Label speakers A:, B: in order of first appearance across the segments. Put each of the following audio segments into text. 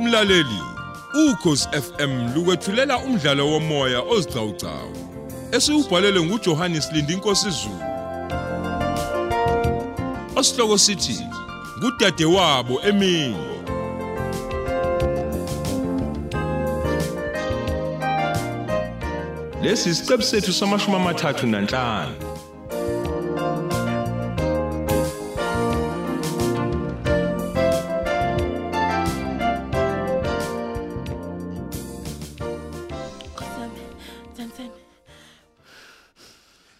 A: Mlaleli, ukhosi FM lukwethulela umdlalo womoya ozicawucawu. Esiubhalelwe nguJohannes Lindi Nkosi Zulu. Osihloko sithi kudadewabo emini. Lesi isiqebu sethu samashumi amathathu nanhlanu.
B: Sami, Sansami.
C: Hey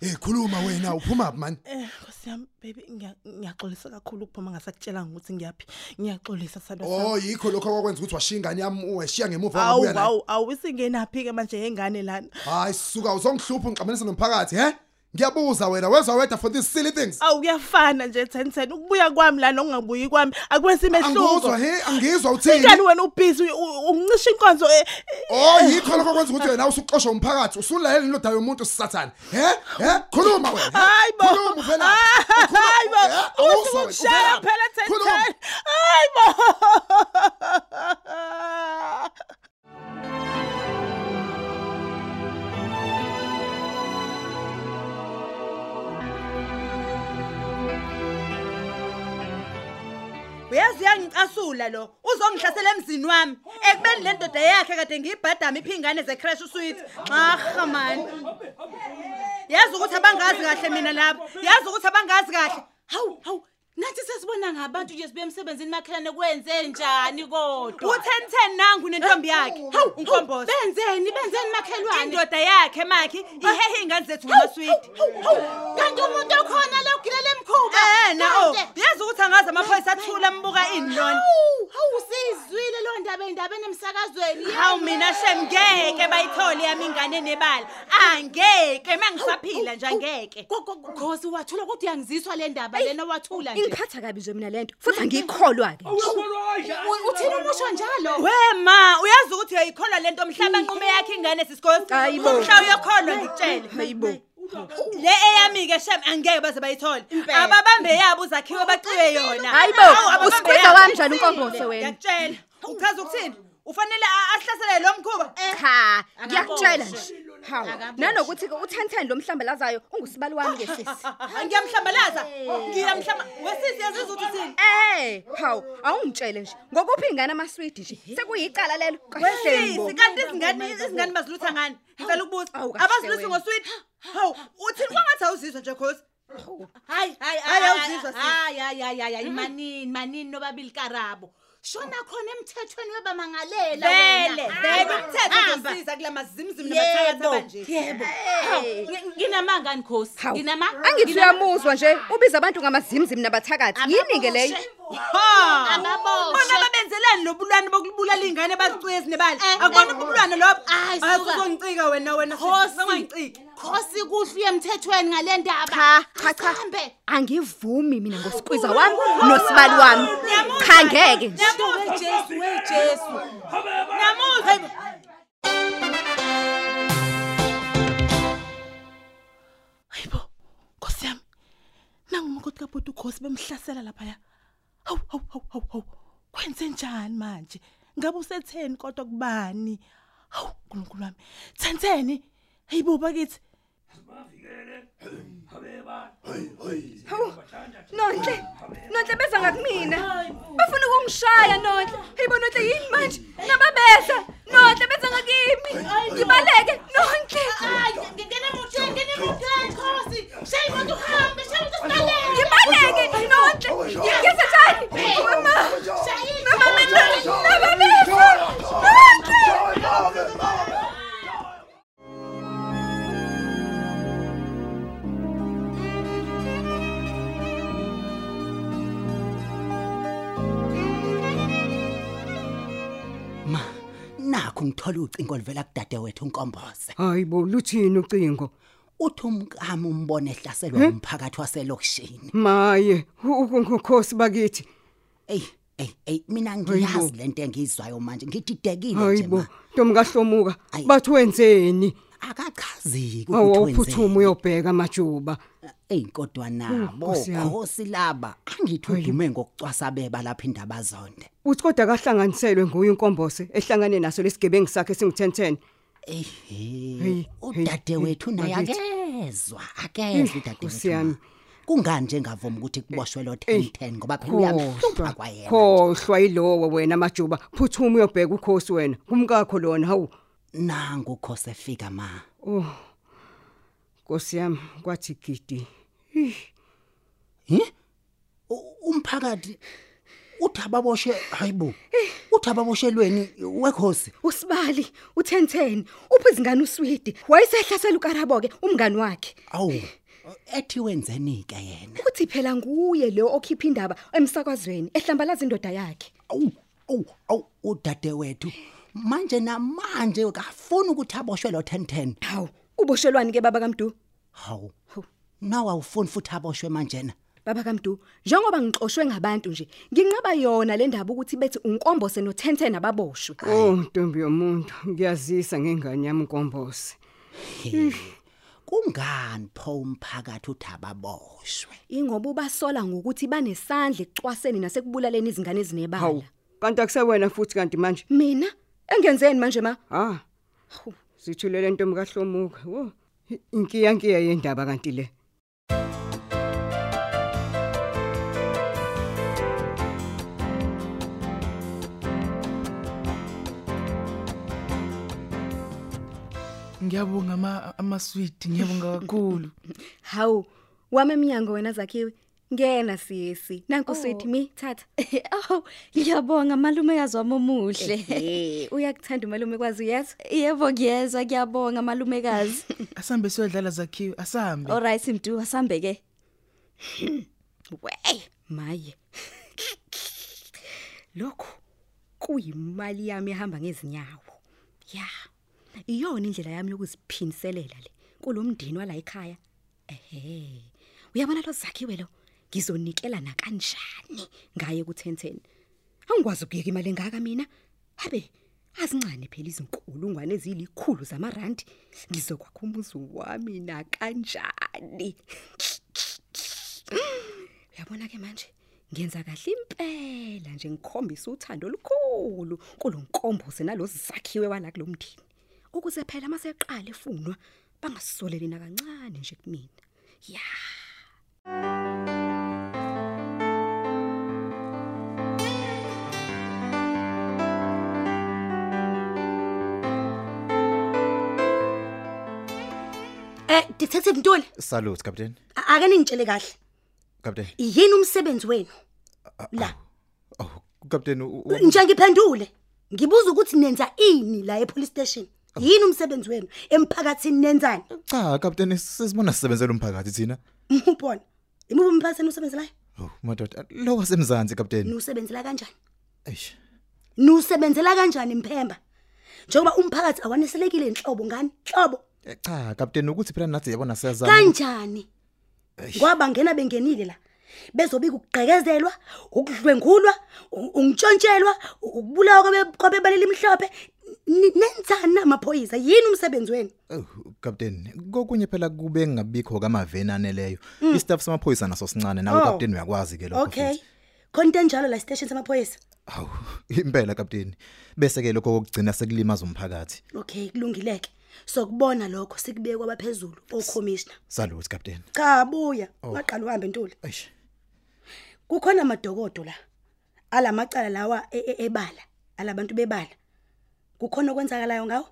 C: Eh, khuluma wena uphuma phi man?
B: Eh, Nkosi yami baby ngiya- ngiyaxolisa kakhulu ukuphuma ngasakutshelanga ukuthi ngiyaphi. Ngiyaxolisa sadwa
C: Oh yikho lokho akwenza ukuthi washiya ingane yami uweshiya ngemuva
B: Awu
C: wabuya la.
B: awu awusingenaphi ke manje yengane lana.
C: Hayi suka uzongihlupa ngixabanisa nomphakathi he? Ngiyabuza wena wezwa weda for these silly things.
B: Awu kuyafana nje 1010 ukubuya kwami lana ongabuyi kwami akwenza
C: Angizwa
B: imehluko.
C: he angizwa
B: Kanti
C: uthini?
B: wena ubhizi ungicisha inkonzo eh, eh,
C: Oh yikho lokho akwenza ukuthi wena usuxoshwa umphakathi usulalele indoda yomuntu usathana. He? He? Khuluma wena. he?
B: Hayi bo.
C: Khuluma eh, phela.
B: Hayi bo. Uthi ukushaya phela 1010. Hayi bo.
D: uyazi uyangicasula lo uzongihlasela emzini wami ekubeni le ndoda yakhe kade ngiyibhadama iphingane zecrash usweet arha mani yazi ukuthi abangazi kahle mina lapha yazi ukuthi abangazi kahle
E: hawu hawu nathi sesibona ngabantu nje sibe emsebenzini makhelane kwenze njani kodwa Eh,
D: u-ten-ten nangu nentombi yakhe hawu unkombos
E: benzeni benzeni makhelwane Ah.
D: indoda yakhe makhe ihehe iy'ngane zethu ngamaswidi
E: Hawu, hawu, kanti umuntu okhona logilela emkhuba
D: Eh, nao
E: Kanti-
D: yazi ukuthi angazi amaphoyisa athula mbuka ini lona
E: Hawu, hawu siyizwile loo ndaba endabeni emsakazweni
D: hawu mina shem ngeke bayithole yami ingane enebala angeke uma ngisaphila nje angeke
E: khosi wathula kodwa uyangiziswa le ndaba lena wathula nje
F: ingiphatha kabi nje mina lento futhi angiyikholwa-ke
E: U- uthini umusho njalo
D: we ma uyazi ukuthi uyayikholwa lento mhlaba nqume yakhe ingane sisikosi
F: Hayibo.
D: mhla uyokholwa ngikutshele
F: hayibo
D: le eyami-ke shem angeke baze bayithole ababambe yabo uzakhiwe baqiwe yona
F: Hayibo,
D: Hawu, ababambe
F: usikhuza
D: yabo.
F: kanjani uNkombose wena?
D: ngiyakutshela uchaza ukuthini ufanele a- asihlasele lo mkhuba
F: cha ngiyakutshela nje hawu nanokuthi-ke u-ten-ten lo mhlambalazayo ungusibali wami-ke sisi
D: ngiyamhlambalaza ngiyamhlamba wesisi yaziza ukuthi thini
F: Eh, hawu awungitshele nje ngokuphi ingane amaswidi nje sekuyicala lelo
D: wesisi
F: kahlebo
D: kanti izingane izingane bazilutha ngani ngicela ukubuza
F: Awu, kahle
D: abaziluthi
F: wena.
D: ngoswidi hawu uthini kwangathi awuzizwa nje khosi
E: hayi hayi
D: Hhayi, awuzizwa sisi.
E: hayi hayi hayi hayi manini manini nobabili karabo shona khona emthethweni webamangalela
D: vele
E: wena.
D: vele
E: Hamba,
D: umthetho
E: hamba.
D: usiza kula mazimzimu nabathatha
E: yebo
D: manje
E: yebo Hawu, ngi- nginamanga nkhosi
F: hawu
E: nginama
F: angithi
E: nginama-
F: uyamuzwa nje ubiza abantu ngamazimzimi nabathakathi yini-ke leyo
D: bona
E: ababoshebona
D: babenzelani lobulwane bokulibulala iy'ngane bazicuye ezinebali
E: Eh,
D: akubona
E: eh.
D: ubulwane lobo
E: Ayi, suka.
D: azuzongicika wena wena ongangiciki
E: khosi kuhle uye emthethweni ngale ndaba
F: Cha, cha, cha.
E: Asambe.
F: angivumi mina ngosikwiza wami nosibali wami cha ngeke nje
E: wejesu wejesu
D: namuza
B: Hayibo, Nkosi yami. Nangumakoti kaBhuti uKhosi bemhlasela laphaya. Hawu hawu hawu hawu hawu. Kwenze njani manje? Ngabe usetheni kodwa kubani? Hawu nkulunkulu wami. Thentheni? Hayibo bakithi.
F: hawu nonhle nonhle beza ngakumina bafuna ukungishaya nonhle hayibo nonhle yini manje ngababeza nonhle beza ngakimi ngibaleke nonhle ngibaleke nonhle ngiyeza njani mama mama mina ngababeza nonhle
B: Ah.
G: ma nakho ngithola ucingo oluvela kudade wethu unkombose
H: hayi bo luthini ucingo
G: uthi umkami umbone ehlaselwe
D: Hmm?
G: umphakathi waselokishini
H: maye ukungukhosi bakithi
G: eyi eyi eyi mina
H: Hayibo.
G: ngiyazi le nto engiyizwayo manje ngididekile
H: hayi
G: nje
H: bo
G: ma
H: ntomkahlomuka
G: Ayi.
H: bathi wenzeni
G: abakwaziki
H: awuphuthuma uyobheka majuba
G: eyinkodwa nabo
H: Nkosi yami.
G: khosi laba angithudume ngokucwasa beba lapha indaba zonde
H: uthi kodwa kahlanganiselwe nguye inkombose ehlangane naso lesigebengu sakhe singu-1010 Hey,
G: ehe
H: hey,
G: udade
H: hey,
G: wethu naye
H: bakithi.
G: akezwa akezwa
H: Eh,
G: udade
H: Nkosi
G: wethu
H: yami.
G: kungani njengavuma ukuthi kuboshwe lo 1010 ngoba phela uyamhlupha kwayena nje.
H: khohlwa yilowo wena majuba phuthuma uyobheka ukhosi wena kumkakho lona hawu Oh,
G: nangu khosi efika ma
H: nkosi yami kwathi gidi
G: hi U- umphakathi uthababoshwe hayibo uthababoshelweni wekhosi
F: usibali u1010 uphi izingane uswidi wayesehlasela ukarabo ke umngani wakhe
G: awu ethi wenzeni ke yena
F: uthi phela nguye lo okhipha indaba emsakazweni ehlambalaza indoda yakhe
G: awu awu awu udade wethu manje namanje kafuna ukuthi aboshwe lo 1010
F: hawu uboshelwani ke baba kaMdu
G: hawu nawa ufuni futhi aboshwe manjena
F: baba kaMdu njengoba ngixoshwe ngabantu nje nginqaba yona le ndaba ukuthi bethi unkombose no1010 ababoshwe
H: oh ntombi yomuntu ngiyazisa ngengane yami inkombose
G: He, kungani pho umphakathi uthababoshwe
F: ingoba ubasola ngokuthi banesandla ecwaseni nasekubulaleni izingane
H: hawu
F: ezinebala
H: kanti akusewena futhi kanti manje
F: mina engenzeni manje ma
H: ha sithulele ntombi kahlomuka wo inkiyankiya yendaba kanti le
I: ngiyabonga ama amaswidi ngiyabonga kakhulu
F: hawu wami eminyango wena zakhiwe ngena sisi nanku sweet me thatha
J: Oh, ngiyabonga malumekazi wami omuhle.
F: Eh, uyakuthanda umalume kwazi yes
J: Yebo ngiyezwa ngiyabonga malumekazi.
I: asambe siyodlala zakhiwe asambe
J: Alright Mdu, asambe ke.
F: wey maye lokho kuyimali yami ehamba ngezinyawo ya iyona indlela yami yokuziphiniselela le kulomndeni wala ekhaya ehe uyabona lo zakhiwe lo ngizonikela nakanjani ngaye ku1010 angikwazi ukuyeka imali engaka mina abe azincane phela izinkulungwane ezilikhulu zamarandi ngizokwakha umuzi wami nakanjani Uyabona ke manje ngenza kahle impela nje ngikhombisa uthando olukhulu kulonkomboze nalozizakhiwe wala kulomndeni. Ukuze phela maseqala efunwa bangasoleli na kancane nje kumina. Ya.
E: Eh detective Ntuli,
K: Salute captain.
E: ake ningitshele kahle.
K: Captain.
E: Yini umsebenzi wenu? La,
K: Ah, Oh, captain u- u-
E: nje ngiphendule. Ngibuza ukuthi nenza ini la epolice station?
K: Ah.
E: Yini umsebenzi wenu? Emphakathini nenzani?
K: cha captain sesibona sisebenzela umphakathi thina.
E: Ubona? Imubu umphakathini usebenzelayo?
K: Oh, madoda lo wasemzansi captain.
E: Nusebenzela kanjani?
K: Eish.
E: Nusebenzela kanjani Mphemba? Njengoba umphakathi awaneselekile inhlobo ngani? Hlobo
K: Eh, Cha captain ukuthi phela nathi yabona siyazama.
E: kanjani? Kwaba ngena bengenile la. Bezobika ukugqekezelwa, ukudlwengulwa, u- ungitshontshelwa, u- ukubulawa kwabe- kwabebalela imhlophe. Ni- Nenzani namaphoyisa? Yini umsebenzi wenu?
K: Oh, captain kokunye phela kube ngabikho kamaveni aneleyo. Istaff samaphoyisa naso sincane nawe
E: Oh.
K: captain uyakwazi ke lokho.
E: Okay.
K: futhi.
E: Konke njalo la station samaphoyisa.
K: Awu, impela captain. Bese ke lokho kokugcina sekulimaza umphakathi.
E: Okay, kulungileke. Sokubona lokho sikubeke kwabaphezulu, ocommissioner.
K: Salute captain. Oh.
E: Cha buya, waqala uhambe ntuli.
K: Eish.
E: Kukhona amadokodo la. Alamacala lawa e- e- ebala, alabantu bebala. Kukhona okwenzakalayo ngawo?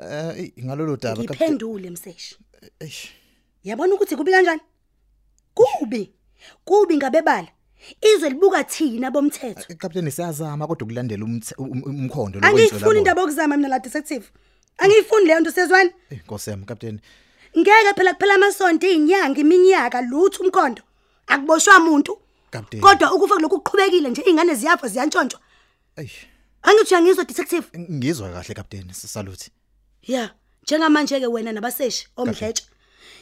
K: Eh, ngalolo daba captain.
E: Ngiphendule mseshi.
K: Eish.
E: Yabona ukuthi kubi kanjani? Kubi. Kubi ngabebala. Izwe libuka thina bomthetho.
K: Eh, Captain siyazama kodwa ukulandela umthe- um- um- umkhondo
E: Angiyifuni
K: lokwenzelwa.
E: indaba okuzama mina la detective. Angiyifuni leyo nto sezwani.
K: Inkosi yami captain.
E: Ngeke phela kuphela amasonto izinyanga iminyaka lutho umkhondo. Akuboshwa umuntu.
K: Captain.
E: Kodwa ukufa kulokhu kuqhubekile nje ingane ziyafa ziyantshontshwa.
K: Eish.
E: Angithi uyangizwa detective?
K: Ngizwa kahle captain sisaluthi.
E: Yeah, njengamanje ke wena nabaseshi omdletshe.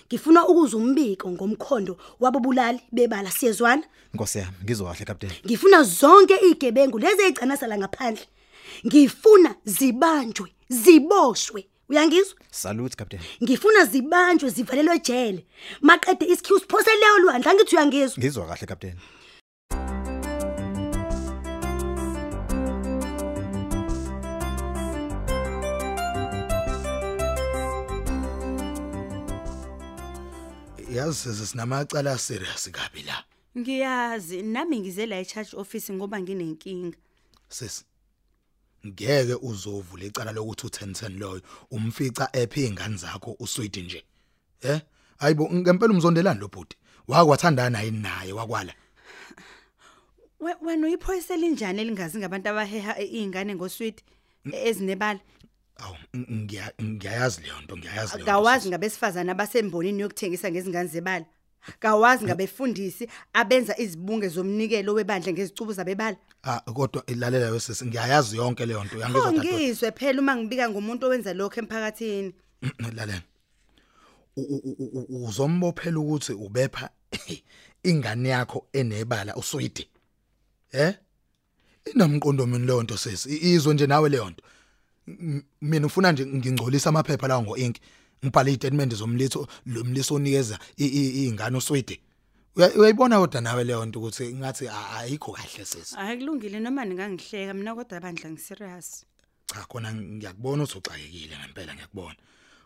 E: Ngifuna ukuza umbiko ngomkhondo wababulali bebala siyezwana.
K: Inkosi yami ngizwa kahle captain.
E: Ngifuna zonke igebengu lezi ezicanasela ngaphandle. Ngifuna zibanjwe, ziboshwe uyangizwa
K: salute captain
E: ngifuna zibanjwe zivalelwe ejele maqede isikhiwu siphoseleyo lwandla angithi uyangizwa
K: ngizwa kahle captain
L: yazi sesinamacala serious kabi la
M: ngiyazi nami ngize la e-church office ngoba nginenkinga
L: sis ngeke uzovula icala lokuthi u1010 loyo umfica app ingane zakho uswidi nje eh ayibo ngempela umzondelani lo bhuti wakwathandana yini naye wakwala
M: We- wena uyiphoyisa elinjani elingazi ngabantu abaheha iy'ngane ngoswidi ezinebala
L: Ng- ngiya- ngiyayazi leyo nto ngiyayazi leyo nto.
M: kawazi ngabesifazane abasembonini yokuthengisa ngezingane zebala kawazi ngabefundisi abenza izibunge zomnikelo webandla ngezicubu zabebala
L: ah kodwa ilalela yo sis ngiyayazi yonke leyo nto
M: pho
E: Oh,
L: yangizwa dadwe
M: ngizwe phela uma ngibika ngomuntu owenza lokho emphakathini
L: lalela Mm, U- u- u- u- u- uzombophela ukuthi ubepha ingane yakho enebala uswidi eh inamqondo mini leyo nto sis I- izwe nje nawe leyo nto M- mina ufuna nje ngingcolisa amaphepha lawo ngoinki ngibhale istatement zomlitho lo mliso onikeza i- i- ingane uswidi Uya- uyayibona kodwa nawe leyo nto ukuthi ngathi a- ayikho kahle sis
M: hayi kulungile noma ningangihleka mina kodwa bandla ngiserious
L: cha khona ngiyakubona uzoxakekile ngempela ngiyakubona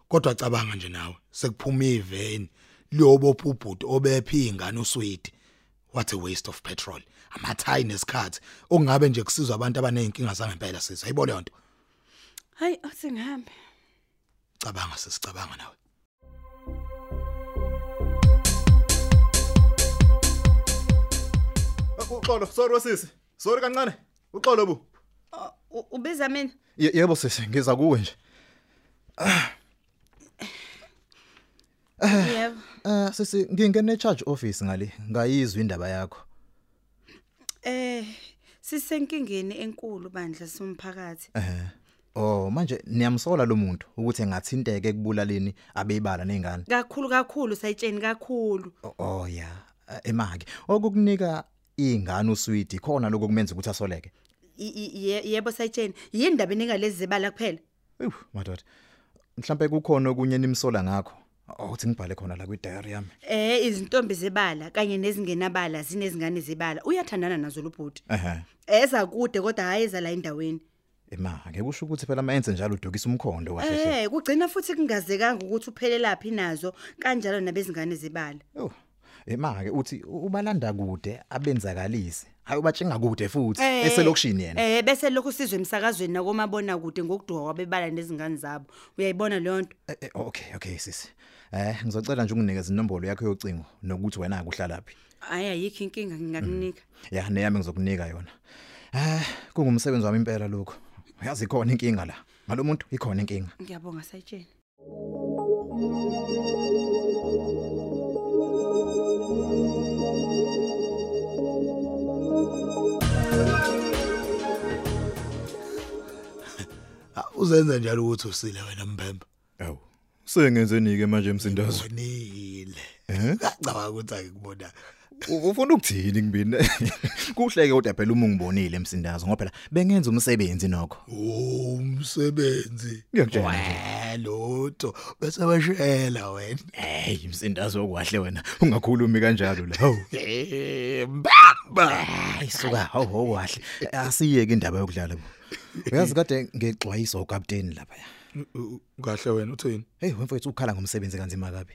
L: kodwa cabanga nje nawe sekuphuma iveni liyobopha ubhuti obepha ingane uswidi what a waste of petrol amathayi nesikhathi okungabe nje kusizwa abantu abaneyinkinga zangempela sisi ayibo leyo nto
M: hayi athi ngihambe
L: cabanga sisicabanga nawe
C: uxolo sorry wesisi sorry kancane uxolo bu
M: U- ubiza mina
C: Ye- yebo sisi ngiza kuwe nje Ah.
K: Eh,
M: yebo
K: eh sisi ngingene charge office ngale ngayizwa indaba yakho
M: eh sisenkingeni enkulu bandla somphakathi
K: eh oh manje niyamsola lo muntu ukuthi engathinteke kubulaleni abeyibala nezingane
M: kakhulu kakhulu sayitsheni kakhulu
K: oh ya emake okukunika ingane uswidi khona lokho kumenza ukuthi asoleke
M: I- i- ye- yebo sayitsheni yindaba eningalezi zebala kuphela
K: madoda mhlambe kukhona okunye nimsola ngakho awuthi ngibhale khona la kwi diary yami
M: eh izintombi zebala kanye nezingenabala zinezingane zebala uyathandana nazo lobhuti
K: ehe
M: eza kude kodwa hayi eza la endaweni
K: emake kusho ukuthi phela mayenze njalo udukisa umkhondo wahle
M: eh kugcina futhi kungazekanga ukuthi uphelelaphi nazo kanjalo nabezingane zebala
K: emake uthi ubalanda kude abenzakalise hayi ubatshenga kude futhi
M: Eh,
K: eselokushini yena
M: eh bese lokhu sizwe emsakazweni nakomabona kude ngokuduka kwabebala nezingane zabo uyayibona leyo nto
K: Eh, okay okay sisi eh ngizocela nje unginikeze inombolo yakho yocingo nokuthi wena akuhlalaphi
M: hayi ayikho inkinga ngingakunika
K: ya neyami ngizokunika yona eh kungumsebenzi wami impela lokho uyazi khona inkinga la ngalomuntu ikhona inkinga
M: ngiyabonga sayitsheni
L: Ah, uzenza njalo ukuthi usile wena mbembe
K: awu sengenzeni ke manje umsindazwe
L: nile
K: eh
L: ngicabanga ukuthi angikubona
K: ufuna ukuthini ngibini kuhleke kodwa phela uma ungibonile umsindazwe ngoba phela bengenza umsebenzi nokho
L: umsebenzi
K: Ngiyakutshela
L: lutho bese weshela wena
K: hey umsindazwe okwahle wena ungakhulumi kanjalo la hawu
L: mbamba
K: ayisuka hawu hawu kahle asiyeke indaba yokudlala bo uyazi kade ngexwayiso ukapteni lapha
C: kahle wena uthini
K: hey wemfowethu ukhala ngomsebenzi kanzima kabi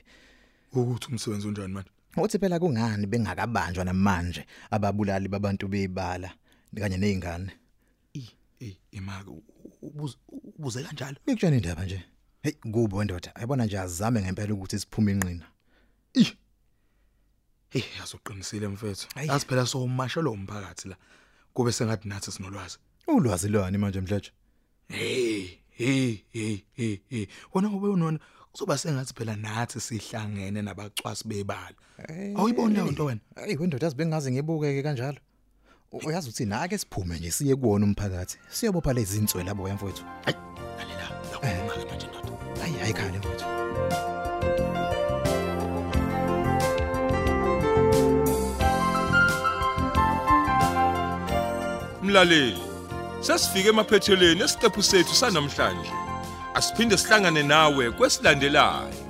C: ukuthi umsebenzi unjani manje
K: uthi phela kungani bengakabanjwa namanje ababulali babantu beyibala kanye nezingane
L: Eh, imaka ubuze ubuze kanjalo
K: ngikutshela indaba nje hey kubo wendoda ayibona nje azame ngempela ukuthi siphume inqina
C: hey yazoqinisile mfethu asiphela somasha lo mphakathi la kube sengathi nathi sinolwazi
K: ulwazi lwani manje mhlatshe
C: hey hey hey hey hey wona ngoba unona kuzoba sengathi phela nathi sihlangene nabacwasi bebala
K: Eh,
C: awuyiboni leyo nto wena
K: hey wendoda asibengaze ngibukeke kanjalo U- uyazi uthi nake siphume nje siye kuwona umphakathi siyobopha lezi inswe labo yemfowethu hayi lalela
L: yakhuluma manje
K: ndoda Eh. hayi ayikhale mfowethu
A: Mlaleli, sesifike emaphethelweni esiqephu sethu sanamhlanje. asiphinde sihlangane nawe kwesilandelayo